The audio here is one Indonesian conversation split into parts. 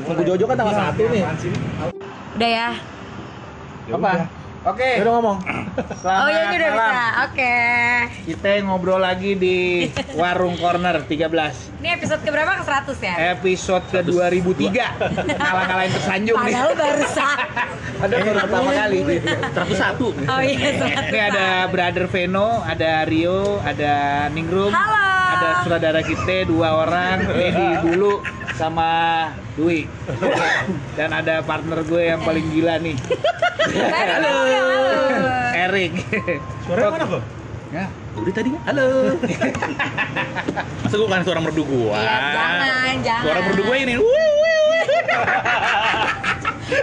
Nunggu Jojo kan tanggal satu nih. Udah ya. Ya Apa? Oke, Jojo ngomong. selamat oh iya ini udah malam. bisa. Oke. Kita ngobrol lagi di Warung Corner 13 Ini episode keberapa? Ke 100 Eh, ya? Episode ke 2003 Kalah-kalahin tersanjung nih Padahal baru satu. Ada baru pertama kali Oh iya, 100. Ini ada Brother Veno, ada Rio, ada Ningrum Halo. Ada saudara kita dua orang Dedi Bulu sama Dwi Dan ada partner gue yang paling gila nih Tadi ngomong yang halus. Erik Suaranya mana kok? Ya, Udah tadi halo. Masa gue kan suara merdu gua? Iya, jangan, jangan. Suara merdu gua ini. wuih, wuih, wuih.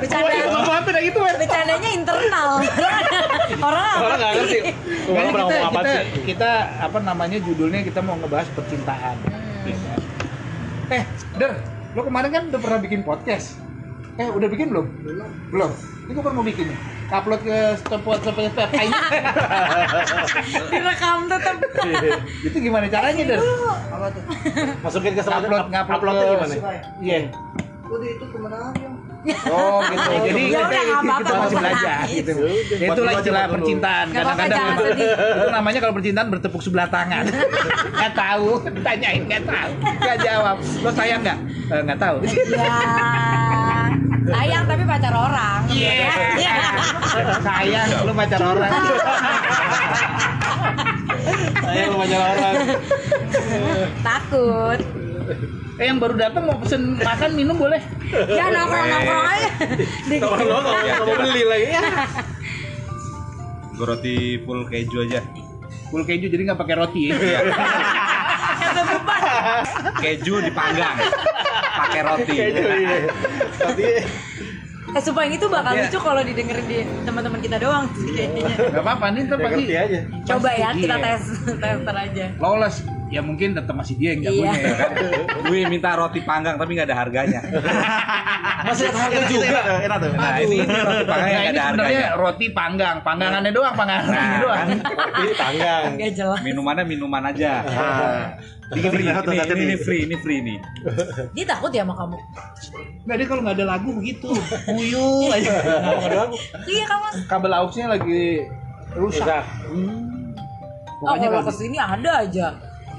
Wah, itu Bercanda. apa dah gitu, Wen? Bercandanya internal. Orang Orang nggak ngerti. Orang Kayaknya pernah kita, ngomong apa kita, sih? kita apa namanya judulnya kita mau ngebahas percintaan. Eh, Der, lo kemarin kan udah pernah bikin podcast. Eh, udah bikin belum? Belum. Belum. Ini gue baru mau bikin nih. Upload ke tempat tempat tempat Direkam tetap. Iya. Itu gimana caranya, Der? Masukin ke sana Upload ngupload uploadnya ke gimana? Iya. Udah itu kemenangan Oh, gitu. Jadi Ya udah, nggak kita, apa-apa, masih nggak belajar apa-apa. gitu. Yaudah. Ya, itulah Buat istilah dulu. percintaan. Nggak apa-apa, Kadang-kadang jangan sedih. itu namanya kalau percintaan bertepuk sebelah tangan. Nggak tahu, ditanyain nggak tahu, nggak jawab. Lo sayang nggak? Eh, Nggak tahu. Ya. Sayang tapi pacar orang. Iya. Iya. sayang lu pacar orang Saya lu banyak orang. Takut. eh yang baru datang mau pesen makan minum boleh Iya. Ya nongkrong-nongkrong aja. Di- Kalau lo nggak nggak mau beli lagi ya. Gue roti full keju aja. full keju jadi nggak pakai roti ya Iya. Keju dipanggang. Pakai roti. Tapi Eh, sumpah yang itu bakal Iya. lucu kalau didengerin di teman-teman kita doang sih kayaknya. nggak apa-apa nih ntar pagi ngerti aja. Coba ya, Iya. kita tes tester aja. lolos ya mungkin tetap masih dia yang jagonya Iya. ya kan Gue minta roti panggang tapi nggak ada harganya. Masih ada harga juga. Enak tuh. Nah, ini, ini roti panggang yang nggak nah ini ada harganya. sebenarnya roti panggang panggangannya doang panggangannya Nah, doang kan. Tapi tanggang. Gak jelas. Minumannya minuman aja. Ah. Ini Tapi free, benar tuh, ini, tadi. ini, ini free, ini free nih. Dia takut ya sama kamu. nggak dia kalau nggak ada lagu begitu puyuh aja Kenapa nggak ada lagu? Iya kamu. kabel auxnya lagi rusak Rusak. Oh Pokoknya kalau bagus. kesini ada aja.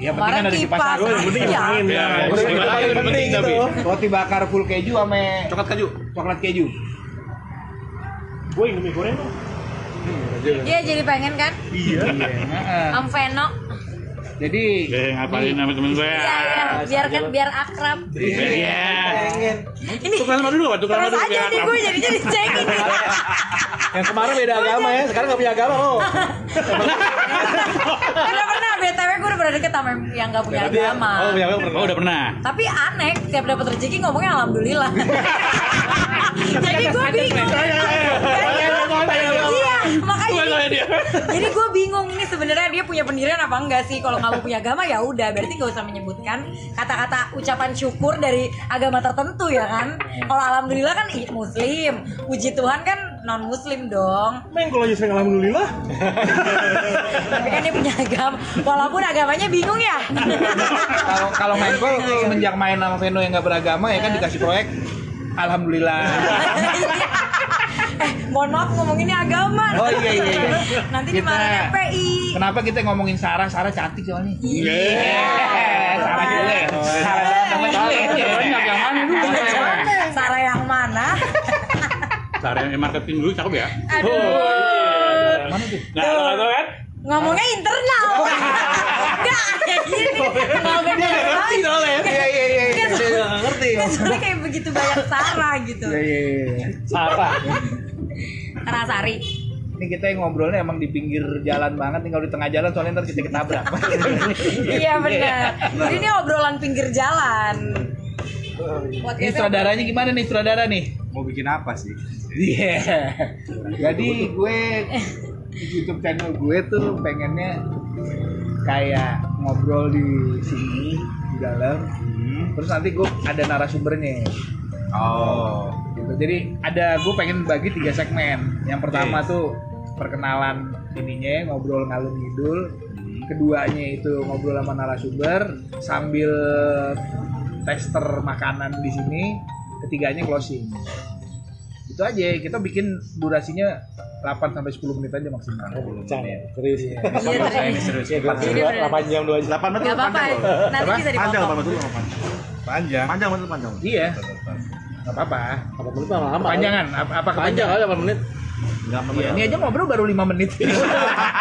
Ya, penting Kemarin kan ada di kipas. pasar. Gue yang penting Iya. ngomongin ya. Iya. Udah, Itu paling Iya. penting Iya. gitu. roti bakar full keju sama Coklat keju. coklat keju Gue Indomie goreng dong. Iya jadi pengen kan? Heeh. Om Veno. Nah, jadi Eh, ngapalin sama temen gue. Iya iya. Biar kan biar akrab. Iya. Ini Tukeran madu dulu, tukeran terus aja madu. biar nih akrab. gue jadinya dicengin. Yang kemarin beda agama ya, sekarang nggak punya agama lo. Udah pernah btw gue udah pernah deket sama yang gak punya ya, agama. Oh, punya agama. Oh, udah pernah. Tapi aneh, tiap dapat rezeki ngomongnya alhamdulillah. Jadi gue bingung. Iya, makanya. Jadi gue bingung ini sebenarnya dia punya pendirian apa enggak sih? Kalau kamu punya agama ya udah, berarti gak usah menyebutkan kata-kata ucapan syukur dari agama tertentu ya kan? Kalau alhamdulillah kan i- muslim, puji Tuhan kan non muslim dong. Meng kalau aja sering alhamdulillah. Tapi kan dia punya agama, walaupun agamanya bingung ya. kalau kalau main gol semenjak main sama Veno yang nggak beragama ya kan dikasih proyek alhamdulillah eh, mohon maaf ngomonginnya agama. Oh, iya, iya, iya. Nanti Kita- dimarahin FPI. kenapa kita ngomongin Sarah Sarah cantik soalnya Iya. Sarah jelek Sarah jelek Sarah yang mana dulu Sarah yang mana? Seharian marketing dulu cakep ya. Aduh. mana tuh Nah, lo nggak tahu kan? Ngomongnya internal. Oh. Enggak, iya, kayak gini. iya. Ngomongnya Ngerti internal. soalnya. Iya iya iya. Dia nggak ngerti. Soalnya kayak begitu banyak Sarah gitu. Iya, iya, iya. Sarah. Sarah Sari. Ini kita yang ngobrolnya emang di pinggir jalan banget, tinggal di tengah jalan soalnya ntar kita ketabrak. Iya benar. Jadi ini obrolan pinggir jalan. Iya, Ini Podcastnya- saudaranya gimana nih saudara nih? Mau bikin apa sih? Iya. Jadi gue YouTube channel gue tuh pengennya kayak ngobrol di sini di dalam. Hmm. Terus nanti gue ada narasumbernya. Oh. Gitu. Jadi ada gue pengen bagi tiga segmen. Yang pertama tuh perkenalan ininya ngobrol ngalur ngidul. Keduanya itu ngobrol sama narasumber sambil tester makanan di sini. ketiganya closing itu aja kita bikin durasinya 8 sampai 10 menit aja maksimal Bercanda, serius. Iya, Sama saya tadi. ini serius. Iya, kelas dua, beneran. 8 jam 2 jam. Delapan menit Gak apa-apa, panjang loh. nanti bisa Panjang dipotong. delapan menit lama panjang. panjang Panjang menit panjang. iya nggak apa-apa 8 menit mah lama. panjangan apa, apa Panjang kepanjangan? kali 8 menit. Enggak Iya, ini aja ngobrol baru 5 menit Ah,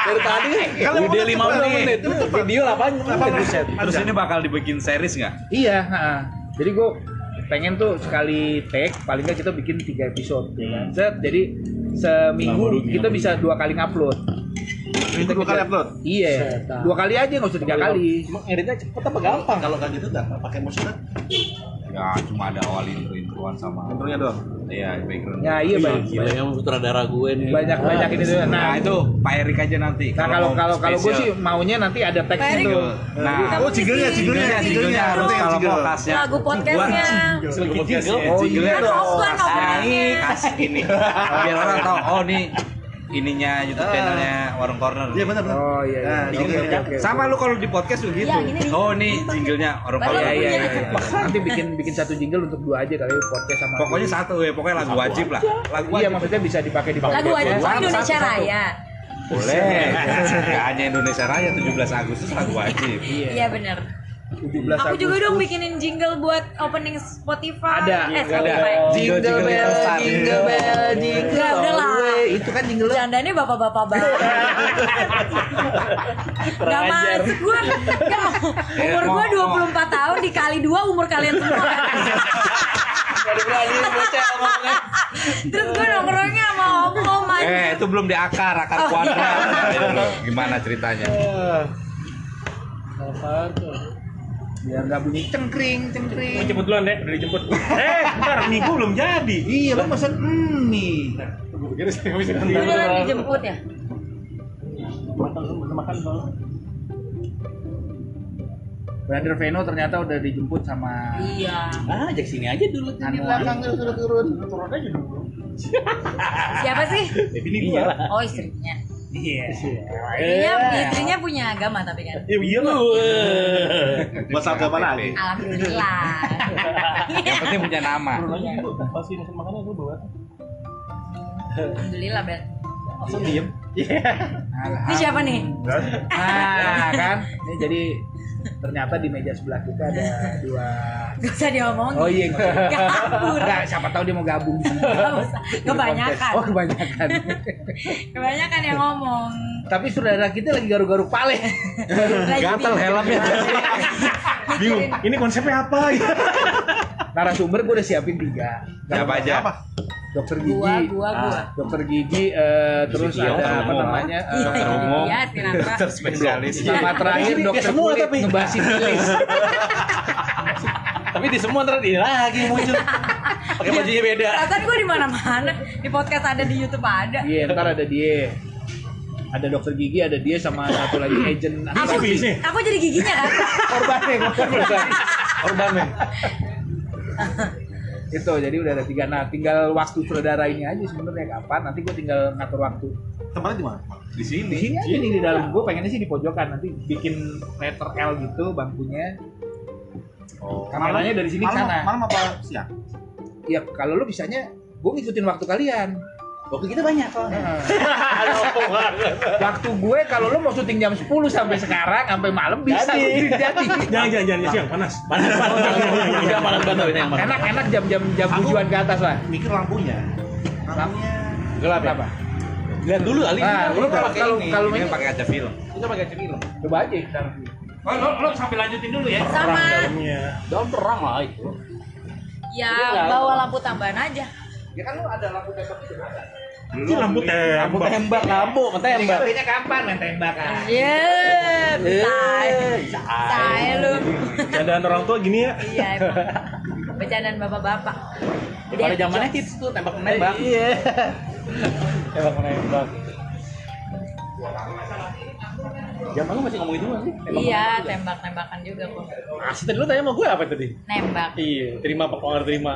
Dari tadi Kalau video mau 5 cepet, menit. Video 8 ah, menit. buset. Terus ini bakal dibikin series nggak? Iya, ha-ha. jadi gue pengen tuh sekali take paling nggak kita bikin tiga episode, ya kan? Set, jadi seminggu Lama kita bisa dua kali ngupload. Minggu dua kali upload. ah. Iya, Setan. dua kali aja nggak usah tiga kali. Emang editnya cepet apa gampang? Kalau kayak gitu nggak pakai motion Ya cuma ada awal intro introan sama. Intronya doang. Iya background. Nah iya banyak Gila ya, sutradara gue nih. banyak banyak ini tuh. Nah, Nah itu Pak Erik aja nanti. nah kalau mau kalau kalau gue sih spesial. maunya nanti ada gitu. teks Pak Erik. itu. Nah, Oh, Kamu Iya, jinglenya, jinglenya, jinglenya, jinglenya harus jinglenya. kalau Jingle. mau kasnya. Lagu podcastnya. Sedikit jingle. Oh, Jinglenya iya. dong. Offline, Kasnya Nah, ini, offline-nya. kasih ini. Biar orang tahu oh nih ininya YouTube channelnya Warung Corner. Iya benar benar. Oh iya. iya. Nah, Oke, jinglenya. oke, oke. Sama lu kalau di podcast juga gitu. Iya, gini, gini. Oh nih jinglenya Warung Baru Corner. Iya, iya, punya. iya, iya. Nanti bikin bikin satu jingle untuk dua aja kali podcast sama. Pokoknya satu ya, pokoknya lagu wajib lah. Lagu Iya wajib. maksudnya bisa dipakai di Lagu podcast. wajib Satu, Indonesia satu, satu. Raya. Boleh. Gak hanya Indonesia Raya 17 Agustus lagu wajib. Iya benar. 17 Aku juga Agustus. dong bikinin jingle buat opening Spotify. Ada, eh, nggak ada. Spotify. Jingle, jingle bell, jingle bell, jingle Nggak, udah lah. all the way. Itu kan jingle Bercandanya bapak-bapak banget. Gak Kurang masuk gue. Gak mau. Umur gue 24 tahun dikali 2 umur kalian semua. Terus gue nongkrongnya sama om-om aja. Eh, itu belum diakar, akar Oh, kuadrat. iya. Nah, itu Gimana ceritanya? Apaan tuh? Biar nggak bunyi cengkring, cengkring. Jemput duluan deh, udah dijemput. Eh, ntar minggu belum jadi. Iya, lu mesen hmm, nih. Gue pikir sih bisa Itu udah dijemput ya? Brother Veno ternyata udah dijemput sama Iya. Ah, ajak sini aja dulu. Anu. sudah turun. Turun aja dulu. Siapa sih? Ini dia lah. Oh istrinya. Iya. Istrinya, istrinya punya agama tapi kan. Ya iya lu. Bahasa agama lagi. Alhamdulillah. Iya. Yang penting punya nama. Alhamdulillah, Bet. Langsung diem. Iya. Ini siapa nih? Nah, kan. Ini jadi ternyata di meja sebelah kita ada dua Gak usah diomongin. Oh iya, nggak usah. Kabur. Nggak, siapa tahu dia mau gabung. Gak usah. Kebanyakan. Oh, kebanyakan. Kebanyakan yang ngomong. Tapi saudara kita lagi garuk-garuk pale. Lagi ya? Gatel bingung. helmnya. Mikirin. Ini konsepnya apa ya? Narasumber gue udah siapin tiga. Siapa aja? Dokter gigi. Gua, gua, gua. dokter gigi eh, terus Gigi, ada dokter apa umum. namanya eh, Iya, Dokter umum. Iya, Sinatra. Dokter spesialis. sama terakhir Iya, dokter semua kulit tapi. ngebahas sifilis Tapi di semua ntar dia lagi muncul. Pakai bajunya beda. Perasaan gue di mana-mana. Di podcast ada, di YouTube ada. iya ntar ada dia ada dokter gigi ada dia sama satu lagi agent Aku, aku jadi giginya kan. korbannya korban Korban nih. itu jadi udah ada tiga nah tinggal waktu saudara ini aja sebenarnya kapan nanti gue tinggal ngatur waktu Tempatnya di mana? di Di sini. sini aja nih di dalam gue pengennya sih di pojokan nanti bikin letter L gitu bangkunya Oh. kameranya dari sini ke Malam, sana malam apa siang? ya kalau lu bisanya gue ngikutin waktu kalian Waktu kita banyak kok. Heeh. Waktu gue kalau lo mau syuting jam 10 sampai sekarang sampai malam bisa jadi. jadi. Jangan jangan jangan siang panas. Panas panas. Enggak panas iya. banget ini yang panas. Enak-enak jam-jam jam Aku- tujuan ke atas lah. Mikir lampunya. Lampunya. Gelap ya? Kenapa? Lihat dulu kali. Nah, Nah, lu lu kalau kalau kalau ini ini pakai kaca film. kita pakai cermin. coba aja kita. Oh, lo, lo sampai lanjutin dulu ya. Sama. Dalam terang lah itu. Ya, bawa lampu tambahan aja. Ya kan lo ada lampu tembak itu. Ini lampu Lampu tembak. tembak, lampu tembak. Kayaknya kapan main tembakan? Iya, Eh, bisa. Bisa lu. Candaan orang tua gini ya. Iya, emang. Bercandaan bapak-bapak. Ya, pada zamannya hits tuh tembak menembak. Iya. tembak menembak. Zaman lu masih ngomongin dua sih. tembak Iya, tembak-tembakan juga kok. menembak. Asli tadi lu tanya sama gue apa tadi? Nembak. Iya, terima apa nggak terima?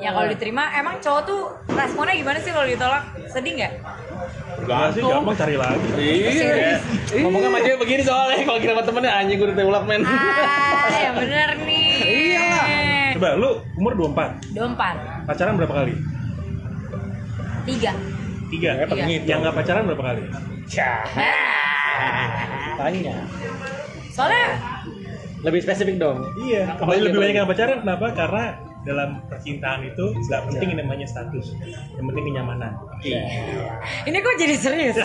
Ya kalau diterima, emang cowok tuh responnya gimana sih kalau ditolak? Sedih nggak? Gak sih, gampang cari lagi. Iya. Ngomongnya sama cewek begini ya soalnya kalau kira sama temennya anjing gue udah tolak men. Ah, yang bener nih. Iya. Coba lu umur 24, Dompan. pacaran berapa kali? Tiga. Tiga. Ya, Iya. Yang nggak pacaran berapa kali? Tanya. Soalnya Lebih spesifik dong. Iya. Kembali lebih banyak yang pacaran kenapa? Karena dalam percintaan itu nggak penting Iya. yang namanya status, yang penting kenyamanan. ini kok jadi serius. Eh,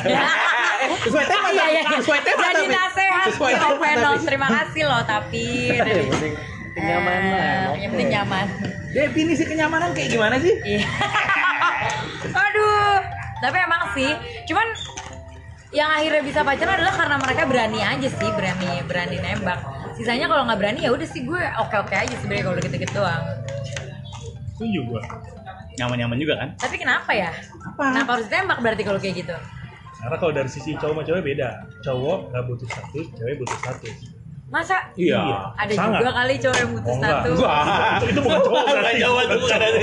Sesuai tema, Iya, iya. tapi. sesuai tema Jadi tapi. nasehat Sesuai Tito tema, Fenol. tapi. Iya, Terima kasih loh tapi. Yang penting kenyamanan. Eh, Yang penting Oke. nyaman. Definisi kenyamanan kayak gimana sih? Iya. Aduh. Tapi emang sih, cuman yang akhirnya bisa pacaran adalah karena mereka berani aja sih, berani berani nembak. Sisanya kalau nggak berani ya udah sih gue oke-oke aja sebenarnya kalau gitu-gitu doang. Setuju gua. Nyaman-nyaman juga kan? Tapi kenapa ya? Kenapa harus ditembak berarti kalau kayak gitu? Karena kalau dari sisi cowok sama cewek beda. Cowok nggak butuh status, cewek butuh status. Masa Iya. ada kan? Sangat. juga kali cowok yang butuh Oh, enggak. status? Itu, itu bukan cowok berarti. Jawa tuh bukan ada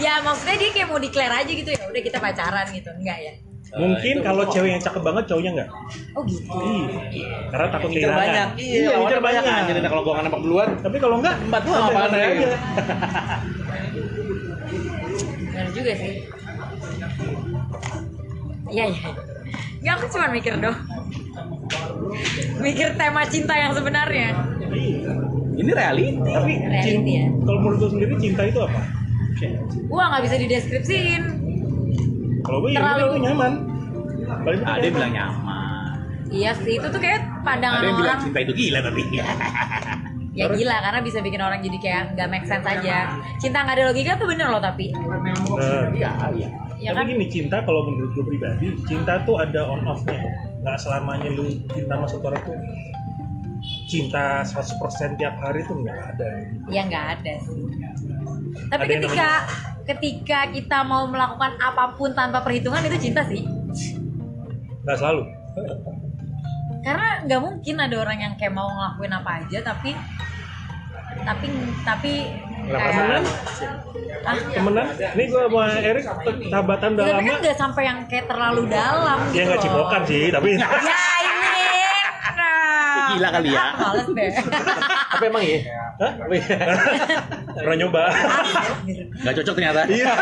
Ya maksudnya dia kayak mau declare aja gitu ya, udah kita pacaran gitu, enggak ya? Mungkin kalau cewek yang cakep banget cowoknya enggak. Oh gitu. Iya. Karena takut Mikir kehilangan. banyak. Iya, mikir banyak. Anjir, nah, kalau gua nggak nampak duluan, Tapi kalau enggak, empat gua apaan ya? Benar juga sih. Iya iya. Nggak aku cuma mikir dong. Mikir tema cinta yang sebenarnya. Ini reality. Tapi Reality cin- ya. kalau menurut lu sendiri cinta itu apa? Wah nggak bisa dideskripsiin. Kalau gue ya Terlalu. gue nyaman. Paling Ada yang penting nyaman. bilang nyaman. Iya sih itu tuh kayak pandangan Ada yang bilang orang. cinta itu gila tapi. Ya gila karena bisa bikin orang jadi kayak nggak make sense aja. Cinta nggak ada logika tuh bener loh tapi. Bener. Ya Eh, kan? Tapi gini cinta kalau menurut gue pribadi cinta tuh ada on off-nya. Nggak selamanya lu cinta sama seseorang tuh cinta 100% tiap hari tuh nggak ada. Ya nggak ada sih. Tapi Ada yang ketika ketika kita mau melakukan apapun tanpa perhitungan itu cinta sih. Nggak selalu. karena nggak mungkin ada orang yang kayak mau ngelakuin apa aja tapi tapi tapi Lah, eh, temenan, ah, temenan. Ini gue sama Iya. Erik sahabatan udah tapi lama. kan nggak sampai yang kayak terlalu dalam Dia gitu nggak loh. cipokan sih, tapi ya ini nah. Gila kali ya. Ah, males deh Tapi emang iya. Hah? pernah nyoba. Gak cocok ternyata. Iya.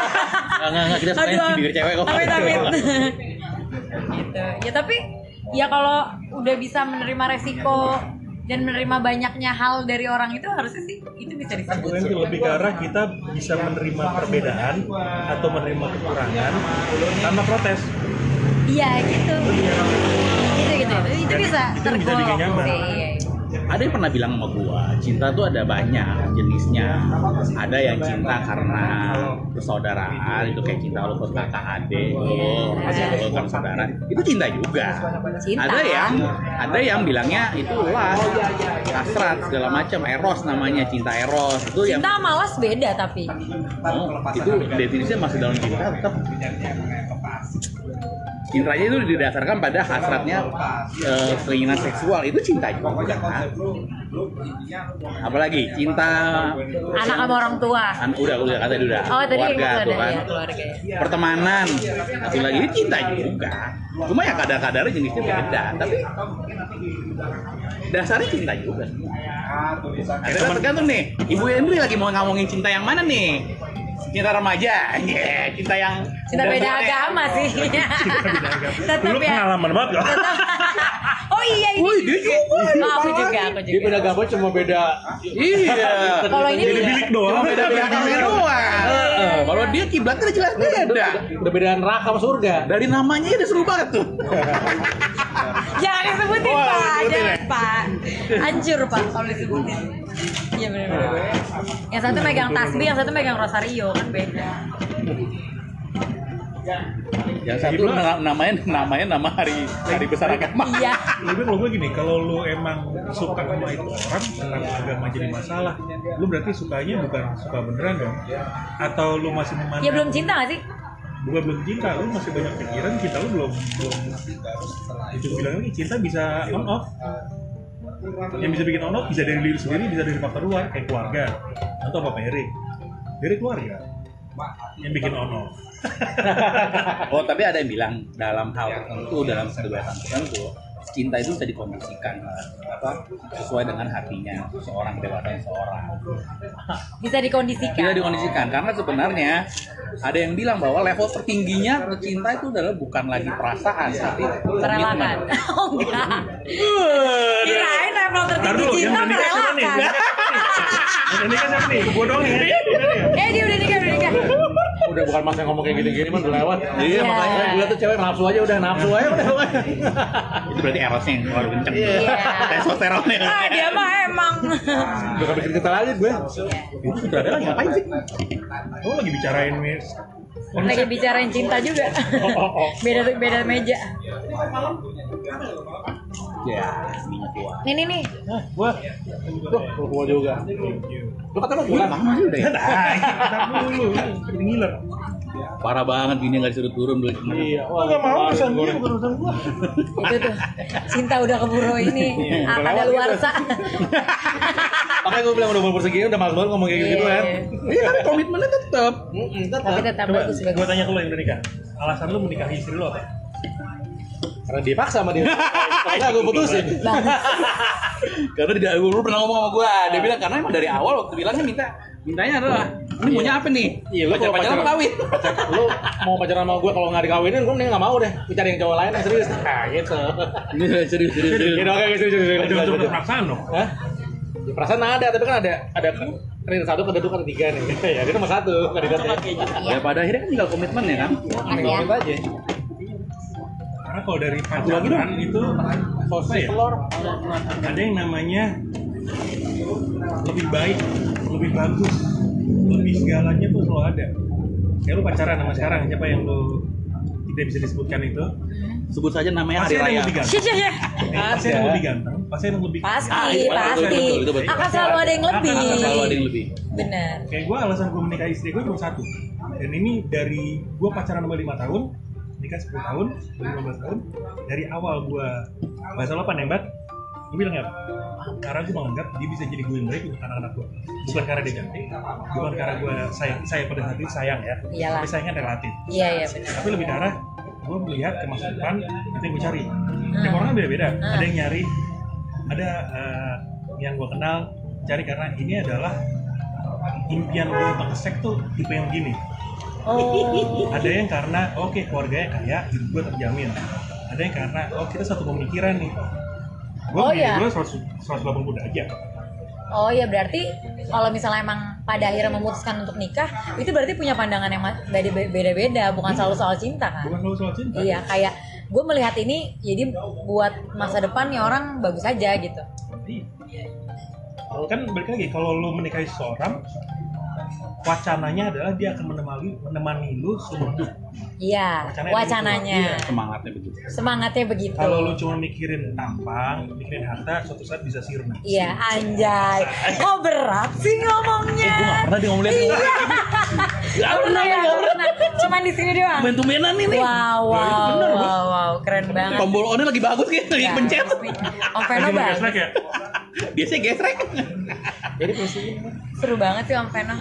Enggak enggak kita sebenarnya Aduh, bibir cewek kok. Amit amit. gitu. Ya tapi ya kalau udah bisa menerima resiko dan menerima banyaknya hal dari orang itu harusnya sih itu bisa disebut. Gue itu lebih ke arah kita bisa menerima perbedaan atau menerima kekurangan tanpa protes. Iya gitu. Gitu gitu. Itu, itu bisa Itu yang bisa bikin tergolong nyaman. sih. Iya, iya. Ada yang pernah bilang sama gua, cinta tuh ada banyak jenisnya. Ada yang cinta karena persaudaraan, itu kayak cinta lu ke kakak adik, lu kasih lu kan saudara. Itu cinta juga. Cinta. Ada ya? yang ada yang bilangnya itu lah hasrat segala macam eros namanya cinta eros itu yang Cinta sama malas beda tapi. Oh, itu definisinya masih dalam cinta tetap cintanya itu didasarkan pada hasratnya eh, keinginan seksual itu cinta juga apalagi cinta Anak sama orang tua. an- udah udah kata udah Oh tadi yang keluarga itu ada tuh kan ya keluarga. ya. pertemanan itu lagi itu cinta juga cuma ya kadar-kadar jenisnya Iya. beda tapi dasarnya cinta juga ada teman gantung nih ibu Hendri lagi mau ngomongin cinta yang mana nih cinta remaja yeah. cinta yang Cinta udah oh, iya. beda sore. agama sih. Tetap Lu ya. pengalaman banget gak? Oh iya ini. Woi, dia juga. Oh, aku juga, aku juga. gambar cuma beda Iya. Kalau ini Beda bilik doang. Cuma beda beda kamera doang. Heeh, Kalau dia kiblatnya udah jelas beda. udah beda neraka sama surga Dari namanya udah seru banget tuh. jangan Ya, disebutin Wah, pak, disebutin jangan ya? pak. Hancur pak kalau disebutin. Iya benar-benar. Yang satu megang tasbih, yang satu megang rosario kan beda. Yang satu na- namanya namanya nama hari hari besar agama. Iya. Lebih kalau gue gini, kalau lu emang suka sama itu orang, kenapa agama jadi masalah? Lu berarti sukanya bukan suka beneran dong? Atau lu masih memandang Ya belum cinta gak sih? bukan belum cinta, lu masih banyak pikiran, cinta lu belum belum. Itu gue bilang lagi cinta bisa on off. Yang bisa bikin on off bisa dari diri sendiri, bisa dari faktor luar kayak keluarga atau apa Pak Erik. Dari keluarga yang bikin on off. Oh, tapi ada yang bilang dalam hal tertentu, dalam kedewasaan tertentu, cinta itu bisa dikondisikan apa sesuai dengan hatinya seorang dewasa seorang Bisa dikondisikan. Iya, tidak dikondisikan karena sebenarnya ada yang bilang bahwa level tertingginya cinta itu adalah bukan lagi perasaan tapi Iya, Merelakan. komitmen. Oh enggak. Kirain level Ntar tertinggi dulu, yang cinta kan? udah nikah siapa nih? merelakan. Yang udah nikah siapa nih? Gua doang ya. nih. Udah nih. Eh dia udah nikah, udah nikah. udah bukan mas yang ngomong kayak gini-gini mah udah lewat Iya. Iya. makanya gue tuh cewek nafsu aja udah nafsu aja udah pokoknya. itu berarti erosnya yang keluar kenceng Iya. testosteronnya Ah dia mah emang. udah gak bikin kesel aja Iya. gue itu sutradara lagi ngapain sih Lo lagi bicarain Miss. Lagi bicarain cinta juga. Oh, oh, oh. Beda beda meja. ya minyak tua Nih nih nih. Hah, gue tuh lu keluar juga lu kata lu pulang lama sih udah ya Nah, ntar dulu. Jadi ngiler. parah banget gini nggak disuruh turun beli iya wah Gak mau kemarin urusan gua gue, bukan urusan gue. Itu tuh. Cinta udah keburu ini. Iya, udah Ada lewat luar Makanya gue bilang udah umur segini udah males banget ngomong kayak gitu kan. iya kan komitmennya tetap Tapi tetap Coba, bagus gue bagus. tanya ke lo yang udah nikah. Alasan lo menikahi istri lo apa? Karena dia paksa sama dia. Karena gue putusin. karena tidak dulu pernah ngomong sama gue dia bilang karena emang dari awal waktu bilangnya minta mintanya adalah ini maunya apa nih Iya, lu pacar kalau pacaran pacaran- kawin Lu mau pacaran sama gue kalau nggak dikawinin gue mending nggak mau deh. Gue cari yang cowok lain yang serius. Nah gitu. serius serius serius Gitu oke serius serius serius. Jangan cuma serius. perasaan lo. Hah? Ya, perasaan ada, tapi kan ada ada kandidat satu, kandidat dua, kandidat tiga nih. ya kita nomor satu kandidatnya. gitu, ya pada akhirnya kan tinggal komitmen ya kan Tinggal ya. kita aja. Karena kalau dari pacaran itu apa ya? Ada yang namanya lebih baik, lebih bagus, lebih segalanya tuh selalu ada. Kayak lu pacaran sama sekarang, siapa yang lu tidak bisa disebutkan itu? sebut saja namanya hari Pasti ada yang raya lebih ganteng. Iya, iya, iya. Pasti ada yang lebih ganteng. Pasti ada yang lebih. Ah, Pasti, itu betul, pasti. betul, itu betul. Akan selalu ada yang lebih. Akan selalu ada yang lebih Benar. Kayak gue alasan gue menikahi istri gue cuma satu. Dan ini dari gue pacaran sama lima tahun, nikah 10 tahun, 15 tahun. Dari awal gue bahasa lo apa nembak? Gue bilang ya, karena gue menganggap dia bisa jadi gue yang baik untuk anak-anak gue. Bukan karena dia cantik, bukan karena gue sayang, saya pada saat itu sayang ya. Iyalah. Tapi sayangnya relatif. Iya, iya benar. Tapi lebih ke arah gue melihat ke masa depan itu yang gue cari. Tiap orang kan beda-beda. Hmm. Ada yang nyari, ada eh, yang gue kenal cari karena ini adalah impian gue untuk kesek tuh tipe yang gini. Oh. Ada yang karena oke keluarganya kaya, hidup gue terjamin. Ada yang karena oh kita satu pemikiran nih. Gue Oh, iya. gue 100 180 aja. Oh ya berarti kalau misalnya emang pada akhirnya memutuskan untuk nikah itu berarti punya pandangan yang ma- beda- beda-beda bukan selalu soal cinta kan? Bukan selalu soal cinta. Iya kayak gue melihat ini jadi buat masa depan ya orang bagus aja gitu. Iya. kan balik lagi kalau lu menikahi seseorang wacananya adalah dia akan menemani menemani lu seumur hidup Iya Wacananya wacananya semangatnya begitu semangatnya begitu. kalau lu cuma mikirin tampang mikirin harta suatu saat bisa sirna Iya anjay kok berat sih ngomongnya? Eh, pernah dia ngomong gitu. lihat Iya. Gak pernah ya gak pernah. Cuman di sini doang. main tumbenan ini Ya, Wow wow wow wow keren banget. tombol onnya lagi bagus gitu Ya, dipencet pasti. Om Veno bagus. Lagi ngegesrek ya biasanya gesrek Seru banget sih Om Veno.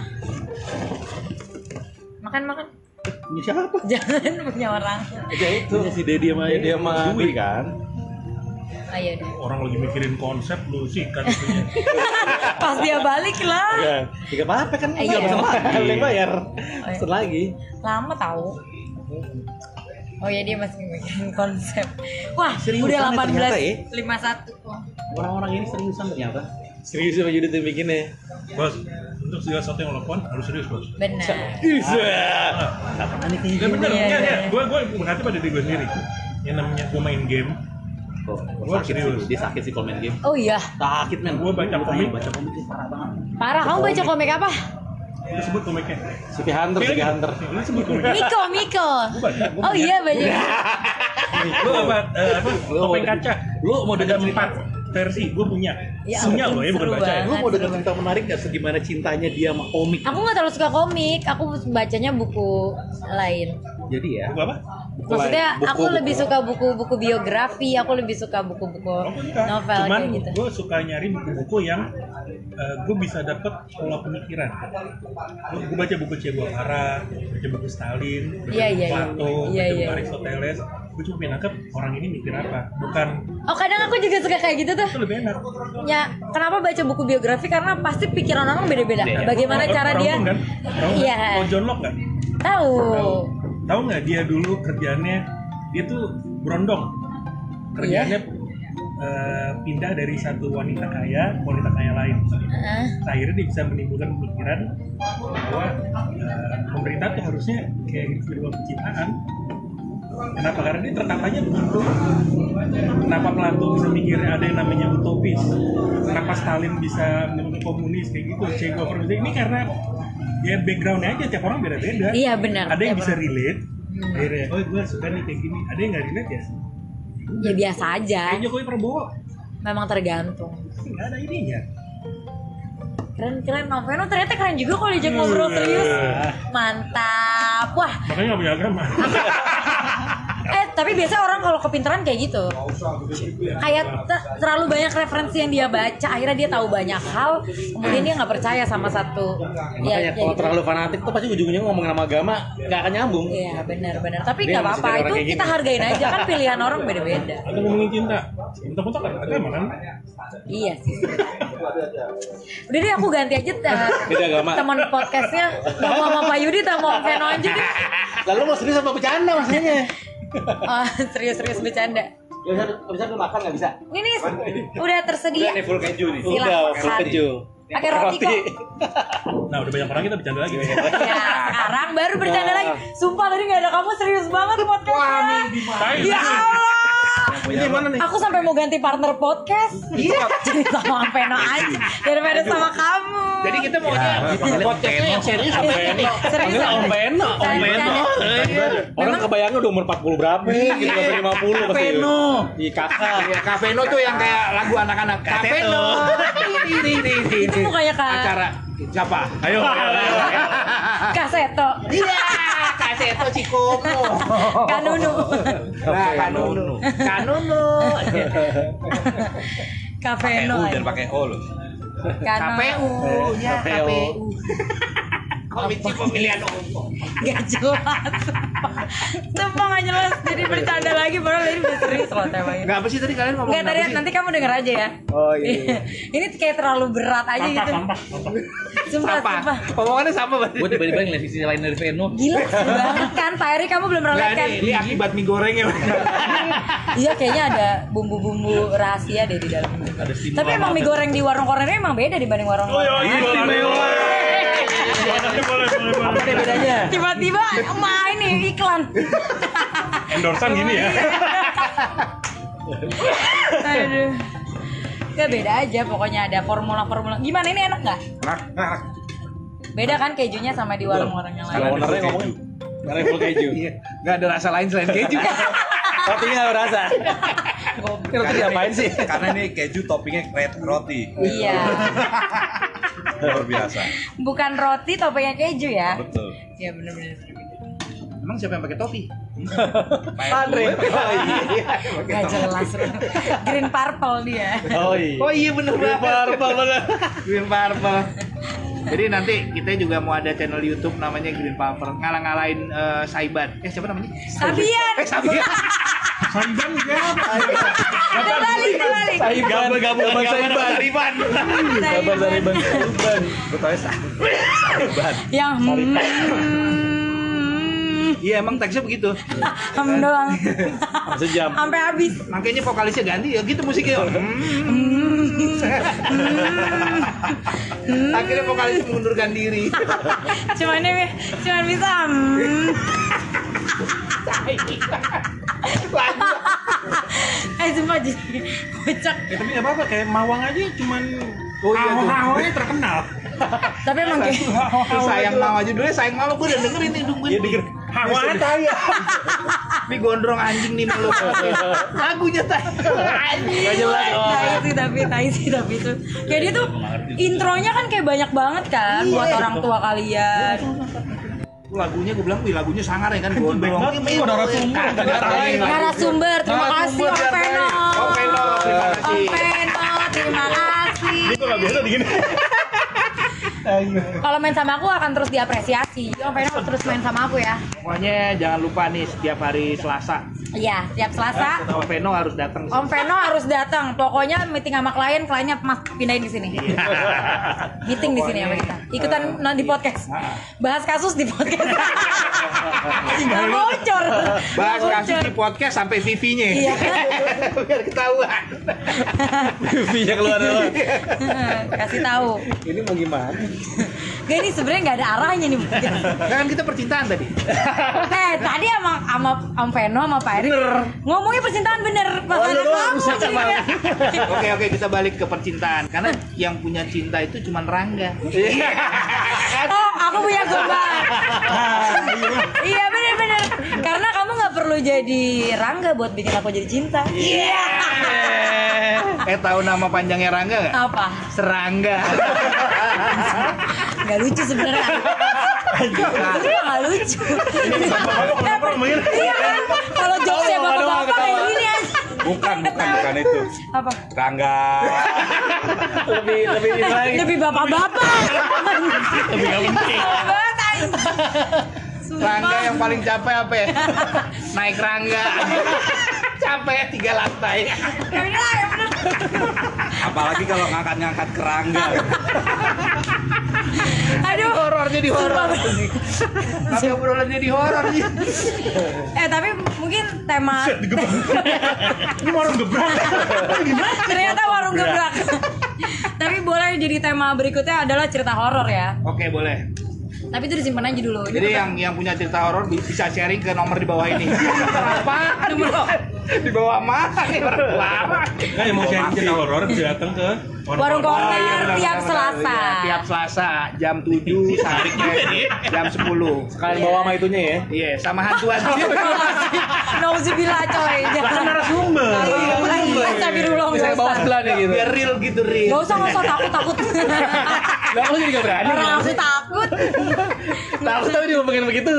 Makan makan. ini siapa Jangan punya orang. Ya itu. Ini si Deddy sama Dia sama Dwi Dwi kan. Ayo deh. "Oh, orang lagi mikirin konsep lu sih kan itunya. Pas dia balik lah. Iya. Ya, tiga apa kan? Iya. Iya, lagi. bayar. iya. Pesen lagi. Lama tahu. Oh ya dia masih bikin konsep. Wah, udah Seriusan ya ternyata ya. 18 51. Wah. orang-orang ini seriusan ternyata Serius sama Yudit yang bikinnya. bos untuk segala sesuatu yang lo lakukan harus serius bos Nah, Benar. ya bener Iya, iya, iya. iya. gue gue berhati pada diri gue sendiri yang namanya gue main game Tuh, Gua sakit serius. sih, dia sakit sih kalau main game Oh iya, sakit men Gua baca Gua komik. tanya, baca komik sih parah banget parah. Kamu baca komik apa? lu sebut komiknya City Hunter, City Hunter. lu sebut komiknya Miko, Miko. baca, gua Oh iya baca. lu apa eh, apa topeng kaca lu mau ada dengar empat versi gue punya Ya punya ampun, loh ya bukan seru baca ya. lu mau dengar cerita menarik gak segimana cintanya dia sama komik Aku nggak terlalu suka komik. Aku bacanya buku lain. jadi ya Buku apa? Buku Maksudnya lain. Buku, aku buku. lebih suka buku-buku biografi, aku lebih suka buku-buku Aku suka. novel Cuman kayak gitu. gue suka nyari buku-buku yang gue bisa dapet pola pemikiran. Gue baca buku Che Guevara, baca buku Stalin, baca Iya, buku iya, iya. Plato, Iya, baca iya. buku Aristoteles. gue cuma pengen nangkep orang ini mikir apa bukan Oh kadang aku juga suka kayak gitu tuh. itu lebih enak Ya, kenapa baca buku biografi? Karena pasti pikiran orang beda-beda. Iya. Bagaimana Iya, Orang- cara orang dia pun kan? Tahu Iya. nggak? Mau John Locke kan? tahu? Tahu nggak dia dulu kerjaannya dia tuh berondong. Iya. Kerjaannya eh, pindah dari satu wanita kaya ke wanita kaya lain. Heeh. Akhirnya dia bisa menimbulkan pemikiran bahwa eh, pemerintah tuh harusnya kayak gitu dari luar penciptaan. Kenapa? Karena dia tertatanya begitu. Kenapa Plato bisa mikir ada yang namanya utopis? Kenapa Stalin bisa menimbulkan komunis kayak gitu? Che Guevara ini karena ya backgroundnya aja tiap orang beda-beda Iya benar. Hmm. ada yang Ya, bisa benar. relate akhirnya oh gue suka nih kayak gini ada yang nggak relate ya Ya biasa aja. kayak Jokowi Prabowo Memang tergantung. nggak ada ininya Keren keren Mang Veno ternyata keren juga kalau Iya. diajak ngobrol serius. Mantap. Wah, makanya nggak punya agama eh tapi biasa orang kalau kepintaran kayak gitu. ya. Kayak te- terlalu banyak referensi yang dia baca, akhirnya dia tahu banyak hal, kemudian dia nggak percaya sama satu. Ya, Makanya ya kalau gitu. terlalu fanatik tuh pasti ujung-ujungnya ngomongin sama agama nggak akan nyambung. Iya benar-benar. Tapi Dia nggak masih apa-apa jadi orang itu kayak gitu. kita gini. hargain aja kan pilihan orang beda-beda. atau ngomongin cinta bentar-bentar kan agama kan Iya sih. Udah deh aku ganti aja eh, Beda agama. teman podcastnya mau sama Pak Yudi sama Om Veno aja deh. Lalu mau serius apa bercanda maksudnya? Oh, serius-serius bercanda. Gak Ya, bisa, gak bisa lu makan nggak bisa? Ini nih udah tersedia. Ini full keju nih. Silakan. Udah, full keju. Pakai roti kok. nah udah banyak orang kita bercanda lagi Ya, sekarang baru bercanda lagi. Sumpah tadi nggak ada kamu serius banget podcastnya. Ya Allah. Ini mana nih? Aku sampai mau ganti partner podcast. Iya. Jadi sama Veno aja daripada sama kamu. Jadi kita Iya. maunya podcastnya yang serius sama Eno. Serius. Kan Panggilnya Om Eno. Om Bercanda. Eno. Iya. Orang kebayangnya udah umur 40 berapa gitu, sampai 50 pasti. Eno. Di kakak. Kafeno Iya, tuh yang kayak lagu anak-anak. Kafeno. Itu mukanya Kak Acara siapa? ayo Kak Seto. Iya, Kaseto Cikomo. Kak Nunu. Nah, Kanunu. Kanunu. Kak Pakai Veno. U dan pakai O loh. Kak KPU, ya Iya, KPU. KPU. Komisi Pemilihan Umum. Gak jelas. Sumpah gak jelas. Jadi bercanda lagi. Padahal ini udah serius loh temanya. Nggak apa sih tadi kalian ngomong Enggak tadi nanti kamu denger aja ya. Oh ini kayak terlalu berat aja gitu. sampah sampah Sumpah, sumpah. Omongannya sama berarti. Gue tiba-tiba ngeliat sisi lain dari Veno. Gila seru banget kan Pak Eri kamu belum pernah Nggak, lihat kan? ini, ini akibat mie goreng ya. Iya kayaknya ada bumbu-bumbu rahasia deh di dalam. Tapi emang mie goreng di warung Korea emang beda dibanding warung oh iya Korea. istimewa boleh boleh boleh boleh bedanya? Tiba-tiba emak ini iklan. endorsan gini ya Aduh. Gak beda aja pokoknya ada formula-formula. Gimana ini enak nggak? Nah, nah, nah. Beda kan kejunya sama di warung-warung yang Kalau lain. ownernya ngomongin. Ngomongin full keju. Iya, Nggak ada rasa lain selain keju. Rotinya nggak berasa. Ini roti diapain sih? Karena ini keju toppingnya red roti. Iya. Luar biasa. Bukan roti topengnya keju ya. Betul. Iya benar-benar. Emang siapa yang pakai topi? Andre. Gak jelas. Green purple dia. Oh iya. Oh iya bener Green banget. Purple, bener. Green Purple. Jadi nanti kita juga mau ada channel YouTube namanya Green Purple ngalah-ngalahin eh, Saiban. Eh siapa namanya? Sabian. Eh Sabian. sambil Kembali, kembali. Saiban, gabungan Iya, Saiban. Saiban. Sabar dari Bang Yang hmm, Iya emang teksnya begitu. hmm doang. Sejam. Sampai habis. Makanya vokalisnya ganti ya gitu musiknya. Hmm. Akhirnya vokalisnya mengundurkan diri. Cuman ini cuman bisa hmm. Eh sumpah jadi kocak. ya tapi nggak apa-apa kayak Mawang aja cuman Oh iya tuh. Ahoy-ahoy terkenal Tapi emang kayak sayang mau aja dulu sayang malu gue udah dengerin nih hidung gue Iya denger. ya? Hawan tapi gondrong anjing nih malu lagunya tadi Gak jelas. Oh. Tai sih tapi tai sih tapi itu. Kayak dia tuh intronya kan kayak banyak banget kan buat orang tua kalian. lagunya gue bilang wih lagunya sangar ya kan gondrong banget, Ini gua narasumber, kagak kagak ada diatain. lain. Narasumber, terima kasih Narasumber Om diatain. Peno. Om Peno, terima Om kasih Peno, terima kasih. itu nggak biasa begini Kalau main sama aku akan terus diapresiasi. Om Peno terus main sama aku ya. pokoknya jangan lupa nih setiap hari Selasa Iya, tiap Selasa Om Veno harus datang. Om Veno harus datang. Pokoknya meeting sama klien, kliennya Mas pindahin di sini. meeting di sini sama kita. Ikutan non di podcast. Bahas kasus di podcast. Nggak bocor. Bahas Nggak kasus bocor. di podcast sampai TV-nya. Iya. Biar ketahuan. Iya keluar keluar. Kasih tahu. Ini mau gimana? Gak ini sebenarnya nggak ada arahnya nih. Nah, kan kita percintaan tadi. Nah, tadi emang sama Om Veno sama Pak Erik ngomongnya percintaan bener pas iya, Oh, ada lu doang kamu rusak emang. sebenarnya. Oke oke kita balik ke percintaan karena yang punya cinta itu cuma Rangga. Iya. Oh, aku punya gombal. iya bener-bener. Karena kamu nggak perlu jadi rangga buat bikin aku jadi cinta. Iya. eh tahu nama panjangnya Rangga nggak? Apa? Serangga. Gak lucu sebenarnya. Itu mah nggak lucu. Iya kan? Kalau jokesnya bapak-bapak kayak gini aja. Bukan, bukan, bukan itu. Apa? Rangga. lebih lebih ini lagi Lebih bapak-bapak. Lebih gak banget anjing. Sumpah. Rangga yang paling capek apa ya? Naik Rangga. capek tiga lantai. Ya udah, ya bener. Apalagi kalau ngangkat-ngangkat kerangga. Aduh. Horornya di horor. Tapi obrolannya di horor. Eh tapi mungkin tema Ini warung gebrak. ternyata warung gebrak. tapi boleh jadi tema berikutnya adalah cerita horor ya. Oke boleh. Tapi itu disimpan aja dulu. Ini Jadi yang yang punya cerita horor bi- bisa sharing ke nomor di bawah ini. Apa? Di bawah di bawah mana nih orang lama. Kan yang mau sharing cerita horor bisa datang ke warung Corner. corner tiap Selasa. iya, Tiap Selasa jam 7 sampai jam 10. kalian bawa sama itunya ya Iya, sama hantu hantu. Nauzubillah coy. Jangan Narasumber. narasumber. Astagfirullah Ini saya enggak bawa usah. sebelah nih gitu Biar real gitu real. Gak usah, gak usah, takut, takut lah lu jadi gak berani Orang aku takut tahu tahu dia ngomongin begitu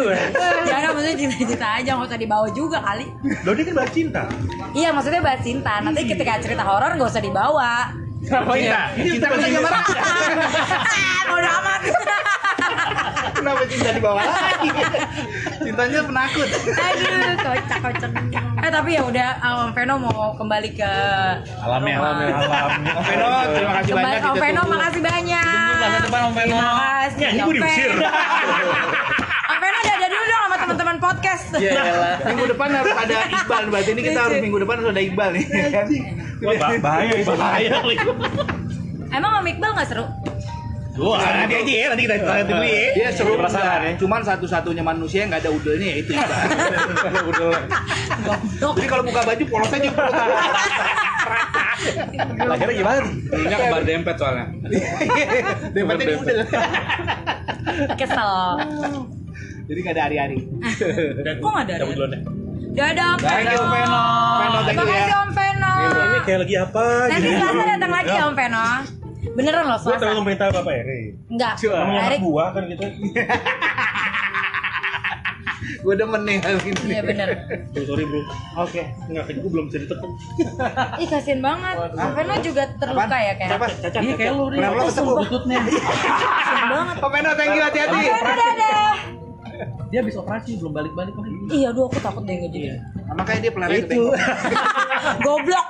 Jangan, maksudnya cinta-cinta aja, gak usah dibawa juga kali Loh dia kan bahas cinta. Iya, maksudnya bahas cinta, nanti ketika cerita horor gak usah dibawa kenapa Iya. ya Ini Cinta bukan kita cinta. gimana? Ah, bodo amat Kenapa cinta di bawah lagi? Cintanya penakut. Aduh, Eh, kocak kocak. Eh tapi ya udah, Om Veno mau kembali ke Alamnya. rumah. Alam. Om Veno, terima kasih Kembali banyak. Om kita Veno, tunggu. makasih banyak. Selasa depan, Om Veno. Terima kasih. Ya, ini gue Om diusir. Veno. Om Veno dadah dulu dong sama teman-teman podcast. Iya, lah Nah, Minggu depan harus ada Iqbal berarti ini kita harus minggu depan harus ada Iqbal nih. kan? Wah, bah- bahaya itu. Bahaya lagi. Emang Om Iqbal nggak seru? Gua. nanti aja ya, nanti kita kita dulu ya. Dia seru Perasaan perasaan ya. Cuman satu-satunya manusia yang nggak ada udelnya ya itu Iqbal. Goblok. Jadi kalau buka baju polos aja polos. akhirnya gimana tuh? Dulunya kembar dempet soalnya. Dempetnya di udel. Kesel. Jadi nggak ada hari-hari. Kok nggak ada? cabut duluan deh Dadah Om Thank you, Veno. Veno, thank you, Makasih ya. Om Veno. Ini kayak lagi apa Nanti gitu. Selasa datang lagi ya Om Veno. Beneran loh Gua terlalu Selasa. memerintah Bapak Eri. Enggak. Sama anak Erik. buah kan gitu. Gue demen nih hal ini. Iya bener. Oh, sorry bro. Oke. Enggak, gue belum bisa ditekan. Ih kasihan banget. Om Veno juga terluka ya kayak. Siapa? Cacat. iya kayak lu Kenapa lo kesebut? Kasihan banget. Om Veno, thank you, hati-hati. Om Veno dadah. dia habis operasi belum balik-balik lagi Iya, aduh aku takut deh nggak jadi. Makanya dia pelarian ke bengkok. Goblok.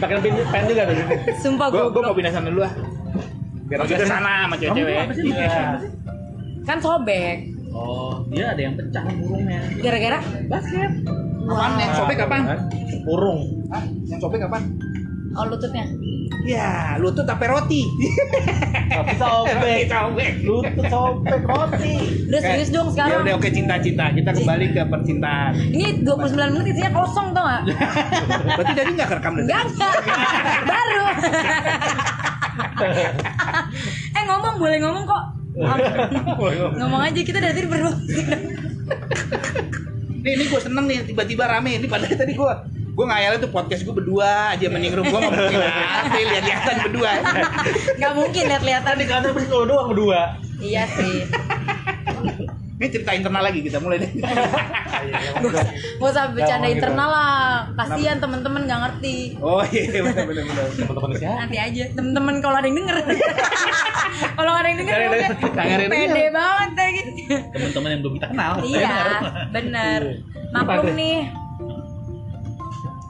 pakai pin pen juga tuh Sumpah Gue gue goblok. mau pindah sana dulu ah. Biar ke sana sama cewek-cewek. Iya. Kan sobek. oh dia ada yang pecah burungnya Gara-gara basket Kapan yang sobek kapan? Urung. Hah? Yang sobek kapan? oh lututnya. Ya, lutut sampai roti. tapi sobek sobek. lutut sobek roti Udah serius dong Ya sekarang. udah oke cinta-cinta. Kita kembali ke percintaan. Ini 29 menit isinya kosong tau gak? Berarti jadi nggak kerekam dari Enggak, enggak. Baru. eh ngomong, boleh ngomong kok. ngomong aja kita dari tadi berdua. Nih, ini gue seneng nih tiba-tiba rame. Ini padahal tadi gue gue ngayalnya tuh podcast gue berdua aja menyinggung gue ngomongin apa lihat-lihatan berdua. Gak mungkin lihat-lihatan. Tadi kata pasti kalau doang berdua. Iya sih. Ini cerita internal lagi kita mulai deh. Gak usah- gak usah bercanda internal lah. Kasihan temen-temen gak ngerti. Oh iya benar-benar. teman-teman siapa nanti aja temen-temen kalau ada yang denger kalau ada yang denger Jangan mungkin denger, jangan denger. pede banget kayak gitu Teman-teman yang belum kita kenal. iya bener maklum nih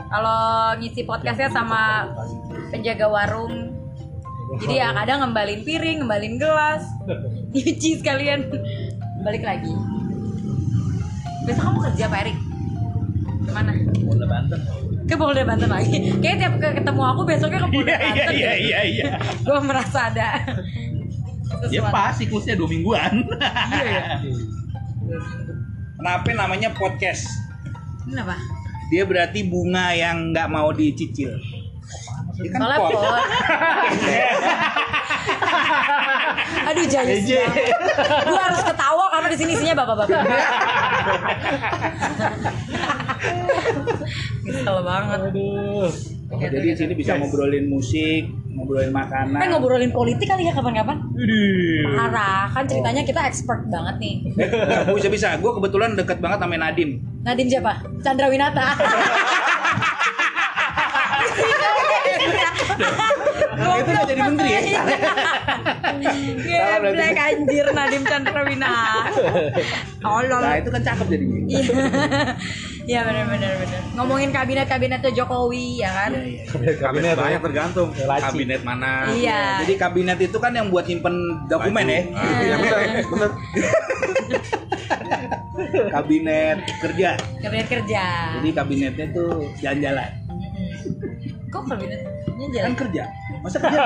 kalau ngisi podcastnya sama penjaga warung jadi ya kadang ngembalin piring ngembalin gelas nyuci sekalian balik lagi besok kamu kerja Pak Erik kemana Bola Banten. ke Polda Banten lagi kayaknya tiap ke- ketemu aku besoknya ke Polda Iya Banten iya iya iya iya. gue merasa ada Ya sesuatu Iya, pas siklusnya dua mingguan. Kenapa namanya podcast? kenapa Dia berarti bunga yang nggak mau dicicil. Dia kan soalnya pot. pot aduh jayus banget gue harus ketawa karena di sini isinya bapak-bapak kesel banget Oh, jadi di sini bisa ngobrolin musik, ngobrolin makanan. Kita ngobrolin politik kali ya kapan-kapan? Parah, kan ceritanya kita expert banget nih. bisa bisa. Gue kebetulan deket banget sama Nadim. Nadim siapa? Chandra Winata. itu udah jadi menteri ya? Geblek anjir Nadim Chandra Winata. Tolol. Nah itu kan cakep jadinya. Iya. Iya benar-benar benar. Ngomongin kabinet-kabinet tuh Jokowi ya kan? Kabinet banyak tergantung. Laci. Kabinet mana? Iya. Jadi kabinet itu kan yang buat nyimpen dokumen ya. Iya, bener, kabinet kerja. Kabinet kerja. Jadi kabinetnya tuh jalan-jalan. Mm-mm. Kok kabinetnya jalan Kan kerja. Masa kerja?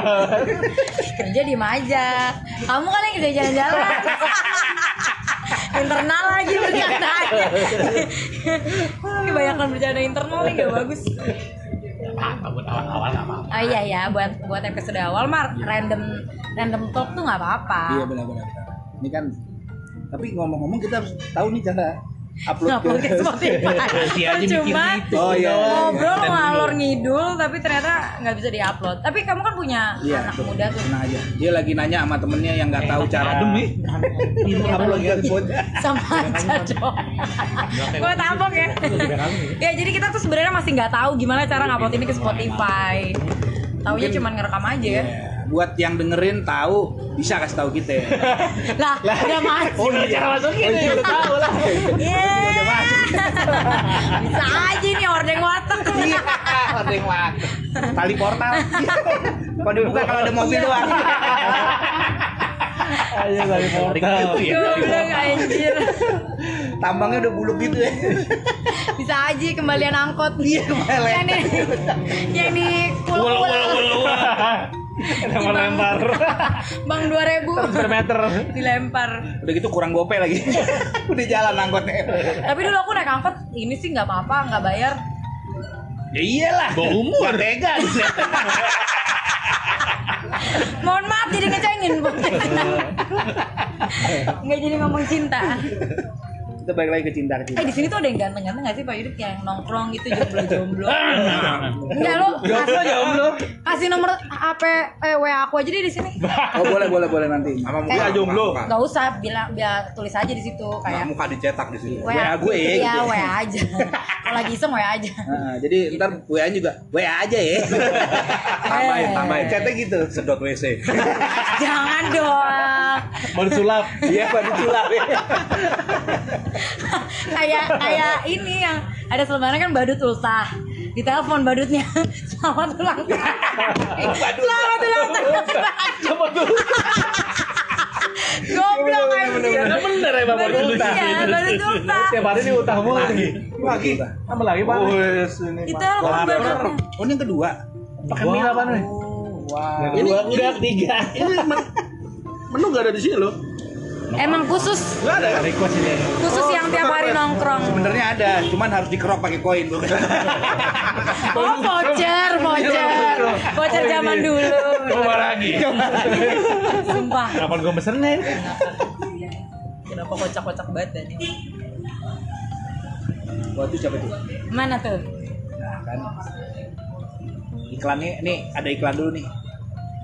kerja di aja kamu kan yang kerja jalan-jalan internal lagi bercandanya ini banyakkan bercanda internal nih gak bagus Buat awal-awal nggak apa-apa. oh iya ya buat buat episode awal mar random random talk tuh nggak apa-apa Iya benar-benar. Ini kan. Tapi ngomong-ngomong kita harus tahu nih cara upload Ngupload ke ke Spotify cuma gitu. Oh iya. iya. ngobrol ngalor ngidul tapi ternyata nggak bisa diupload tapi kamu kan punya Iya, anak betul. muda tuh Tenang aja. Dia lagi nanya sama temennya yang nggak tahu cara. upload ke Spotify. sama aja dong gitu gue tampok ya ya jadi kita tuh sebenarnya masih nggak tahu gimana cara ngupload ini ke Spotify taunya cuma ngerekam aja ya Iya. Buat yang dengerin tahu bisa kasih tahu kita. ya. lah udah masuk Udah cara masukin ya, udah tahu lah. Yeay. bisa aja nih ordeng watak Iya. Ordeng wak. Tali portal. Kalau dibuka kalau ada mobil doang. Ayo dari portal. gue bilang anjir Iya, Tambangnya udah buluk gitu ya. bisa aja kembalian angkot Iya, malah. yang nih yang nih Wul pulang wul wul wul. Lempar lempar. bang dua ribu Meter. dilempar Udah gitu kurang gope lagi. udah jalan angkotnya. tapi dulu aku naik angkot ini sih nggak apa-apa nggak bayar Ya iyalah. Bawa umur. Tega. mohon maaf jadi ngecengin Bu. nggak jadi ngomong cinta Kita balik lagi ke cinta ke cinta. eh di sini tuh ada yang ganteng-ganteng nggak sih Pak Yudit yang nongkrong gitu jomblo-jomblo Ah, nah, enggak lo jomblo jomblo kasih nomor HP eh, WA aku aja deh di sini Oh boleh boleh boleh nanti. Sama muka jomblo. nggak usah bilang biar tulis aja di situ Nah, kayak muka dicetak di sini. WA, WA gue ya. iya gitu. WA aja kalau lagi iseng WA aja Nah, jadi ntar WA juga WA aja ya. tambahin, tambahin. Catnya gitu. Sedot WC. jangan dong Mau disulap. Iya, baru culap. kayak kayak ini yang ada selebaran kan badut ultah ditelepon badutnya selamat ulang tahun selamat ulang tahun Coba tuh. Iya, goblok anjir Bener bener ya bapak badut ultah. ya badut ultah Tiap hari ini utah mulu. Lagi. Tambah lagi pak. ditelepon badutnya Oh, ini yang kedua. Pakai mie apa nih? Wow. Ini nah, udah ketiga. Menu nggak ada di sini loh. emang khusus kan? Request ini. khusus yang tiap Oh, hari nongkrong Sebenarnya ada, cuman harus dikerok pakai koin. oh voucher Iya, voucher voucher zaman dulu Coba lagi. sumpah Kapan gue mesennya? ya? kenapa kocak-kocak banget dan ini? Wah, itu siapa tuh? mana tuh Nah, kan. Iklannya nih, ada iklan dulu nih.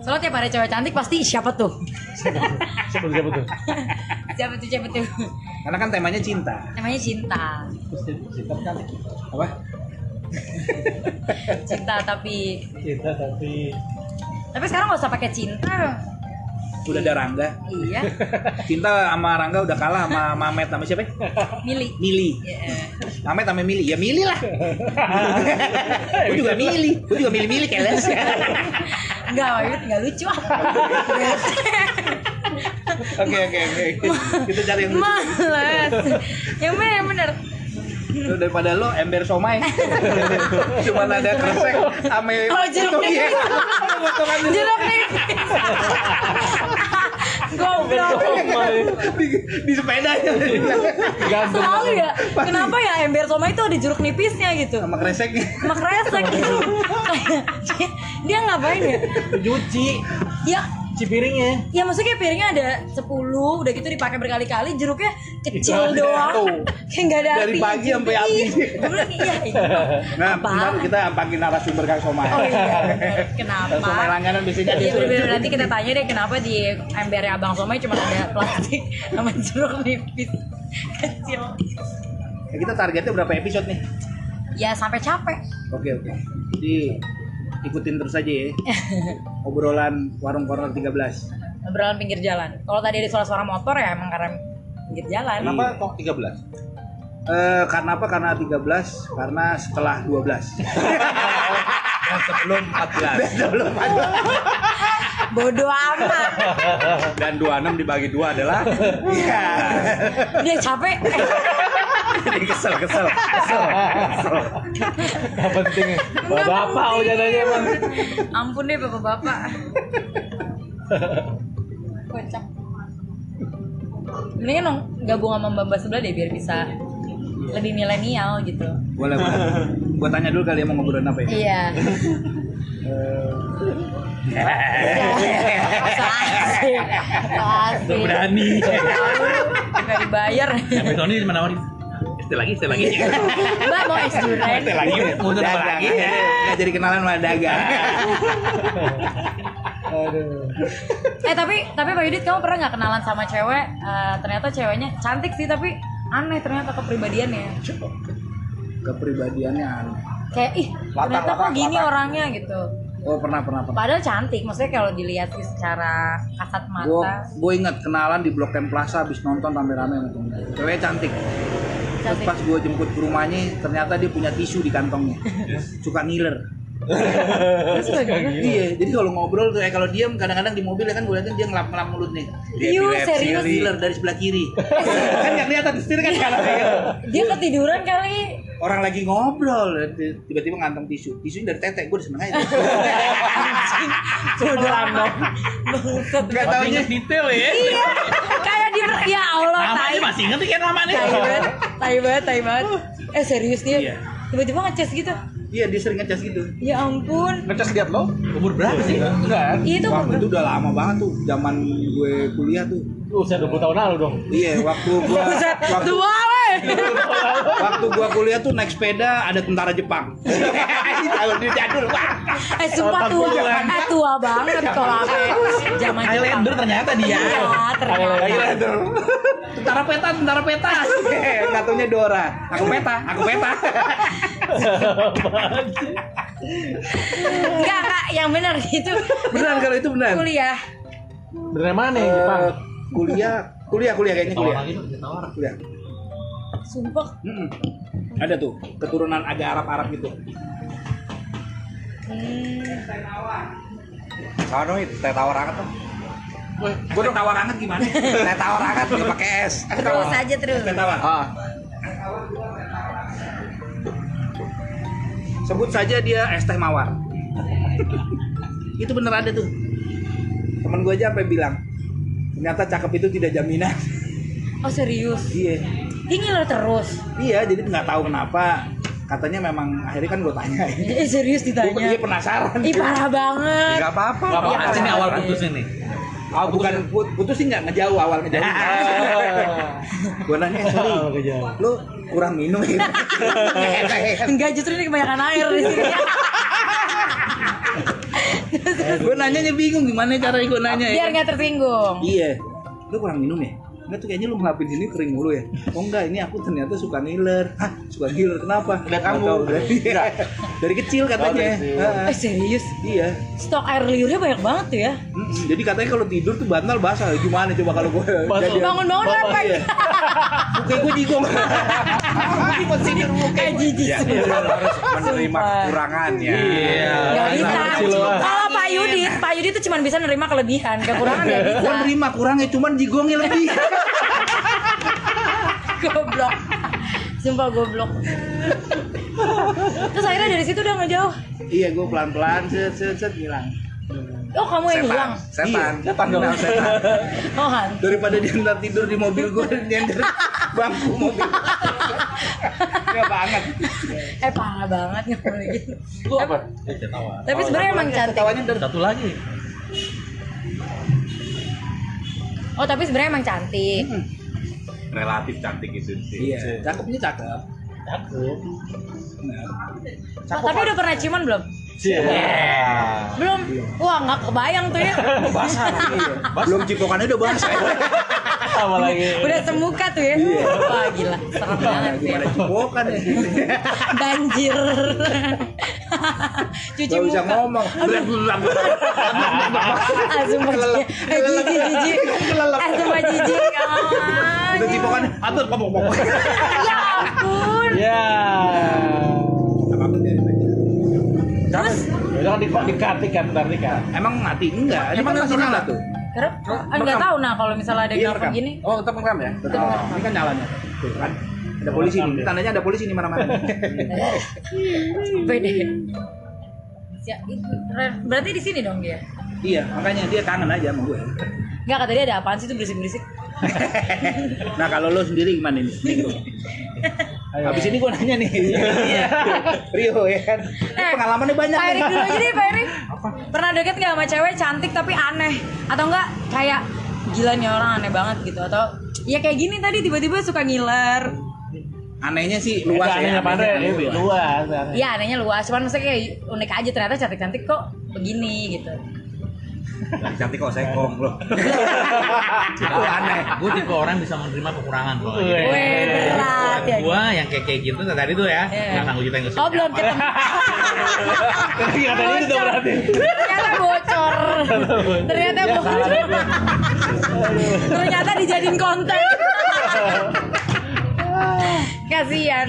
soalnya tiap ada cewek cantik pasti siapa tuh Siapa tuh, siapa tuh? siapa tuh siapa tuh Karena kan temanya cinta. namanya cinta Apa? cinta tapi Cinta tapi tapi sekarang nggak usah pakai cinta dong udah ada Rangga. Iya, Cinta sama Rangga udah kalah sama Mamet sama siapa? ya? milih. Iya. Mili. Mamet sama Mili. Ya Mili lah. gue juga Mili. Gue juga Mili-Mili kayak Les. Enggak, Wahyu nggak lucu. Oke oke oke. Kita cari yang lucu. Males. Yang bener, yang bener. Lu daripada lo ember somai. Cuman ada kresek sama Kalau Oh, jeruk Tuh, iya. nipis. Sama potongan dulu. Jeruk nipis. Goblok. di, di sepedanya. Selalu ya. Kenapa ya ember soma itu ada jeruk nipisnya gitu? sama kresek. Sama kresek gitu. Kayak, Dia ngapain ya? Cuci, Ya cuci piringnya. Ya maksudnya kayak piringnya ada 10 Udah gitu dipakai berkali-kali Jeruknya kecil doang Kayak nggak ada Dari pagi sampai habis. Bener, iya, iya. Nah, Apa? bentar kita panggil narasumber Kang Somai. Oh iya Kenapa Somai langganan biasanya Iya dia tuh. bener-bener nanti kita tanya deh kenapa di embernya Abang Somai cuma ada plastik sama jeruk nipis kecil. Ya, kita targetnya berapa episode nih? Ya sampai capek. Oke oke. Jadi ikutin terus aja ya. Obrolan warung corner 13. Obrolan pinggir jalan. Kalau tadi ada suara-suara motor ya emang karena pinggir jalan. Kenapa kok 13? Eh, karena apa? Karena 13, karena setelah 12. Sebelum 14. Sebelum ada. Bodoh amat. Dan 26 dibagi dua adalah Iya. Dia capek. Jadi kesel kesel. Gak penting. Bapak oh jadinya emang. Eh, Ampun deh bapak-bapak. Kocak. Mendingan dong gabung sama Mbak sebelah deh biar bisa lebih milenial gitu. Boleh boleh. Gua tanya dulu kali ya mau ngobrolin apa ya. Iya. Asik. Asik. berani Nggak dibayar. sampai Sony cuma nawarin Setelah lagi, setelah lagi. Mbak mau es durian. Setelah lagi. Mau nambah Dagang. lagi? Nggak jadi kenalan sama dagang. Eh tapi tapi Pak Yudit kamu pernah nggak kenalan sama cewek? Eh, ternyata ceweknya cantik sih tapi aneh ternyata kepribadiannya. Kepribadiannya aneh. Kayak ih ternyata kok gini orangnya gitu. Oh pernah pernah pernah. Padahal cantik, maksudnya kalau dilihat sih secara kasat gue mata. gue inget kenalan di blok M Plaza habis nonton rame-rame sama temen cewek cantik terus Cantik. pas gue jemput ke rumahnya ternyata dia punya tisu di kantongnya suka ngiler iya jadi kalau ngobrol tuh eh kalau diam kadang-kadang di mobil ya kan gue liatin dia ngelap ngelap mulut nih epilepsi, Iu, Iya, serius? ngiler dari sebelah kiri kan nggak kelihatan setir kan kanan Dia ketiduran kali. orang lagi ngobrol tiba-tiba ngantong tisu tisunya dari tetek gue udah seneng aja Bodoh amat. Bangsat. nggak taunya detail ya Iya. Kayak di ya Allah, tai. namanya masih inget kan namanya Tai banget, tai banget, tai banget. Eh serius dia. Iya. Tiba-tiba ngecas gitu. iya dia sering ngecas gitu Ya ampun. Ngecas lihat lo? umur berapa sih Enggak. Iya, Itu Wah, ber- itu udah lama banget tuh zaman gue kuliah tuh Usia 20 tahun lalu dong. Iya, waktu gua Buset, waktu, tua weh. waktu gua kuliah tuh naik sepeda ada tentara Jepang. Tahun dia jadul, Pak. Eh sumpah tua, eh tua banget kalau aku zaman Highlander ternyata dia Iya, ternyata. Tentara peta, tentara peta. Katanya Dora. Aku peta, aku peta. Enggak, Kak, yang benar itu Benar kalau itu benar. kuliah. Bener mana yang Jepang? Eh, kuliah, kuliah, kuliah kayaknya kuliah. Kuliah. Sumpah Mm-mm. Ada tuh keturunan agak Arab-Arab gitu. Sono itu teh tawar hangat tuh. Gue udah tawar hangat gimana? Teh tawar hangat nggak pakai es. Teh terus tawar. aja terus. Teh tawar. Ah, Sebut saja dia es teh mawar. itu bener ada tuh. Temen gue aja sampai bilang, ternyata cakep itu tidak jaminan. Oh serius. iya, Dia ngiler terus. iya. Jadi nggak tahu kenapa. Katanya memang akhirnya kan gue tanya. Eh serius Gue ditanya. iya penasaran. Ih parah banget. Gak apa-apa. Gak apa-apa, Iya. ini awal putus ini Ah, bukan Oh. put- putus sih nggak ngejauh awal ngejauh. gue nanya, eh, sorry, Ah, kejauh. lu kurang minum ya? Enggak justru ini kebanyakan air di sini. gue nanyanya bingung gimana cara gue nanya ya. Biar nggak tersinggung. Iya, lu kurang minum ya? Enggak tuh kayaknya lu ngelakuin ini kering mulu ya. Oh enggak, ini aku ternyata suka ngiler. Hah, suka ngiler kenapa? Udah kamu. Nggak tahu, dari, dari kecil katanya. dari kecil. Heeh. Eh serius, iya. stok air liurnya banyak banget tuh ya. Mm-mm. Jadi katanya kalau tidur tuh bantal basah. Gimana coba kalau gue jadi Bangun-bangun apa? Iya. Muka gue digong. Ini masih di muka. Eh jijik Iya, sebenernya. Harus menerima Sumpah. kekurangan ya. Iya. Gak bisa. kecil doang. Kalau Pak Yudit, Pak Yudit tuh cuma bisa nerima kelebihan, kekurangan gak Gue ya, bisa. nerima kurangnya, cuman digongnya lebih. goblok. Sumpah goblok. Terus akhirnya dari situ udah ngejauh. iya, gue pelan-pelan set set set hilang. Oh kamu yang hilang. Setan. Iya, Setan dong. Setan. Oh kan. Daripada dia ntar tidur di mobil gue nyender bangku mobil. Gak banget. Eh parah banget ngomong gitu. Lu apa? Tapi sebenarnya emang cantik. Eh, Satu lagi. Oh tapi sebenarnya emang cantik. Hmm, relatif cantik itu sih Iya, cakepnya cakep. Cakep. Oh, tapi udah pernah ciuman belum? Iya. Belum. Wah nggak kebayang tuh ya. Basah. Iya. Belum cipokannya udah basah. Sama lagi. Udah semuka tuh ya. Wah gila. Serem banget sih. Iya. Gimana cipokan ya? Banjir. Cuci Gak bisa muka. ngomong. Ah, sumpah jijik. Eh, jijik, jijik. Eh, sumpah jijik. Ah, Udah cipokan. Atur popok popok. Ya ampun. Ya. Terus, Udah di dikat dikat ntar dikat. Emang mati? Enggak. Ini kan masih nyala tuh. karena ah, nggak tahu nah kalau misalnya ada yang nelfon gini. Oh, tetap ngerekam ya? Tetap ngerekam. Ini kan nyalanya. Tuh kan. Ada polisi nih. Tandanya ada polisi di mana-mana. Pede. Ya, itu. berarti di sini dong dia. iya, makanya dia kangen aja sama gue. Enggak kata dia ada apaan sih tuh berisik-berisik. Nah kalau lo sendiri gimana nih? Rio. Habis ini gue nanya nih. Rio ya kan. Eh, Pengalamannya banyak Pak Erik nih. dulu aja deh, Pak Erik. Pernah deket nggak sama cewek cantik tapi aneh? Atau enggak kayak gila nih orang aneh banget gitu atau ya kayak gini tadi tiba-tiba suka ngiler Anehnya sih Luas luas ya. ya, pandai. anehnya luas. Luas. aneh. Iya anehnya luas, cuman maksudnya kayak unik aja ternyata cantik-cantik kok begini gitu. Lagi cantik kok sekong lo. Itu aneh. Gue tipe orang bisa menerima kekurangan kok. Weh. Weh berat ya. Gue yang kayak kayak gitu tadi tuh ya. Iya. Nggak nanggung kita nggak Oh belum ketemu. Tapi kata ini udah berarti. Iya. Ternyata bocor. Ternyata bocor. Ternyata dijadiin konten. Kasian.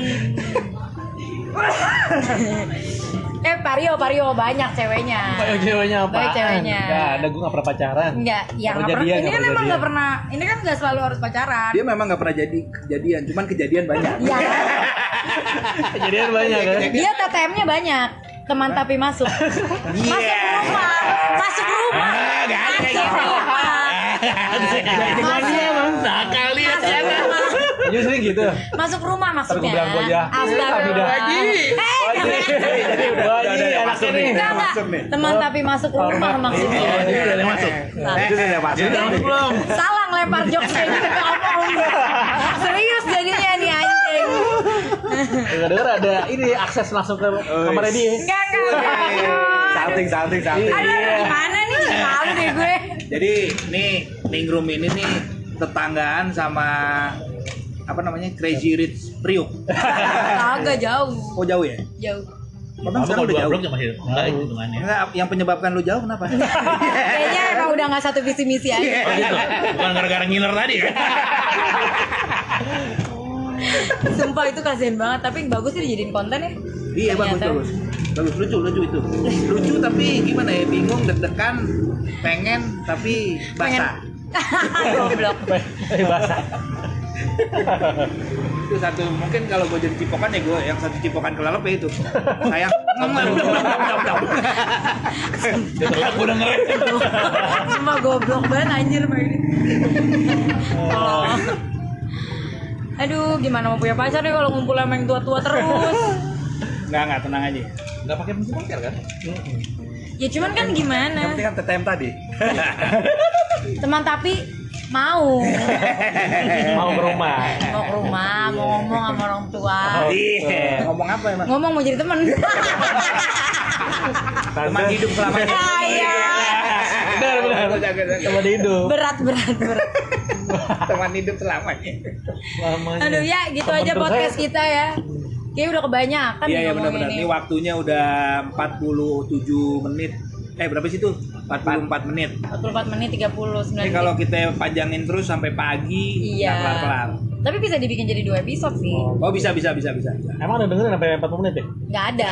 eh Pario, Pario banyak ceweknya. Kayak ceweknya apa? Baik ceweknya. Enggak, ada gue nggak pernah pacaran. Enggak, yang Nggak Iya. pernah. jadian, Ini kan nggak emang nggak jadian. pernah. Ini kan nggak selalu harus pacaran. Dia memang nggak pernah jadi kejadian, cuman kejadian banyak. Iya. kan? Jadian banyak kan? Dia TTM-nya banyak. Teman tapi masuk. Iya. Masuk rumah. Masuk rumah. Ah, Masuk rumah. Sekali ya. Masuk rumah. Iya sering gitu. Masuk rumah Ntar maksudnya. gue bilang gue ya. Astagfirullah. Lagi. Eh, iya. jangan. Wah, ini enak ini. Enggak, enggak. Teman tapi masuk rumah Iya, maksudnya. Udah ada yang masuk. Salah. Udah masuk belum? Salah ngelempar jokes kayak gitu ke omong. Serius jadinya nih anjing. Dengar dengar ada ini akses langsung ke kamarnya dia. Enggak, enggak. Iya. Salting, salting, salting. Iya. Aduh, Iya. gimana nih? Malu deh gue. Jadi nih ningrum ini nih tetanggaan sama apa namanya Crazy Rich Priuk. Agak jauh. Oh jauh ya? Jauh. Emang Kamu sekarang kalau udah dua jauh? blok ya masih enggak itu hitungannya. Enggak, yang penyebabkan lu jauh kenapa? Eh, Kayaknya emang udah nggak satu visi misi Iya. aja. Oh gitu. Bukan gara-gara ngiler tadi ya. Sumpah itu kasihan banget, tapi bagus sih dijadiin konten ya. Iya bagus Ternyata. bagus. Bagus lucu lucu itu. Lucu tapi gimana ya? Bingung deg-degan, pengen tapi basah. Pengen- Ah, Goblok. Eh basah. Itu satu mungkin kalau gue jadi cipokan ya gue yang satu cipokan kelalep ya itu. Sayang. Setelah gue dengerin. Cuma goblok banget anjir Pak ini. Oh. Aduh, gimana mau punya pacar nih kalau ngumpul sama yang tua-tua terus? Enggak enggak tenang aja. Enggak pakai musik pakai kan? Ya cuman kan gimana? Yang penting kan TTM tadi. Teman tapi mau Mau ke rumah. mau ke rumah, mau ngomong sama orang tua. Eh. Iya. Ngomong apa emang? Ngomong mau jadi teman. Teman hidup Iya. selamanya. Kayak Benar benar. Teman hidup. berat berat berat. teman hidup selamanya Selamanya. Aduh ya gitu Temen aja terus podcast saya- kita ya. Kayaknya udah kebanyakan Iya nih ya Kan ngomongin benar-benar. ini. Ini waktunya udah 47 menit. Eh berapa sih tuh? 44 menit. 44 menit 30 Ini 9 kalau menit. kita panjangin terus sampai pagi, Iya. nggak kelar-kelar. Tapi bisa dibikin jadi dua episode sih. Oh bisa bisa bisa bisa. bisa. Emang ada dengerin sampai 40 menit ya? Nggak ada.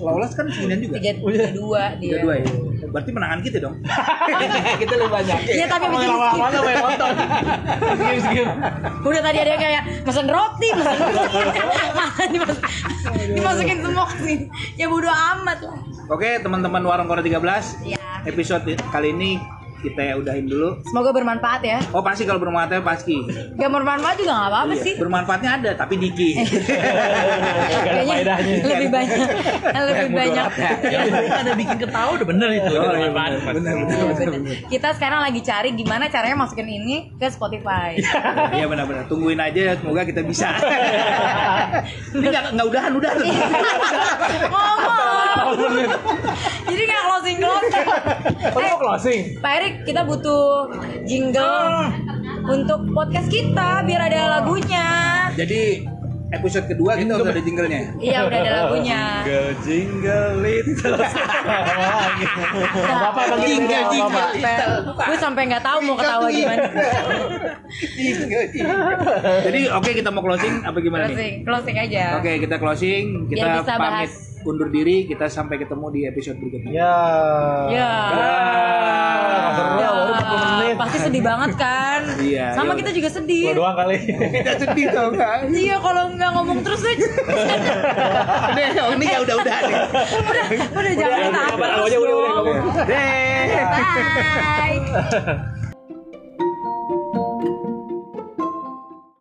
Lolos kan seginian juga. Tiga, iya. tiga dua dia. 32 ya. Berarti menangan kita dong. kita lebih banyak. Iya tapi bikin skip. Mana main nonton? Skip skip. Udah tadi ada yang kayak mesen roti, mesen roti. Malah dimas- dimasukin semua sih. Ya bodo amat lah. Oke, teman-teman Warung Korea 13, Ya. episode kali ini kita udahin dulu. Semoga bermanfaat ya. Oh pasti kalau bermanfaatnya pasti. Iya, Gak bermanfaat juga nggak apa-apa sih. Bermanfaatnya ada tapi dikit. Kayaknya faedahnya. lebih banyak, lebih banyak. ada bikin ketawa udah Iya, bener itu. Oh, Bener bener Iya, bener. bener. Kita sekarang lagi cari gimana caranya masukin ini ke Spotify. Iya benar-benar. Tungguin aja, semoga kita bisa. Ini nggak nggak udahan udah tuh. Iya. Ngomong. Jadi nggak closing closing. Kok mau closing? Pak Erik, kita Ah. butuh jingle untuk podcast kita biar ada lagunya. Jadi episode kedua kita udah ada jinglenya. Iya udah ada lagunya. Bapak bang Jingle jingle. Gue sampai nggak tahu mau ketawa gimana. Jadi oke kita mau closing apa gimana nih? Closing, closing aja. Oke kita closing, Biar kita bisa pamit bahas. undur diri, kita sampai ketemu di episode berikutnya. Ya. Ya. seru, Ya, Iya, baru 10 menit. Pasti sedih banget kan? Iya, Sama iya. kita juga Gua sedih. doang kali. Kita sedih tau nggak? Iya kalau nggak ngomong terus eh, deh. Udah, ini ya udah udah nih. udah, udah jangan Udah, tahan udah, terus udah, udah, dong. udah. Deh. Bye.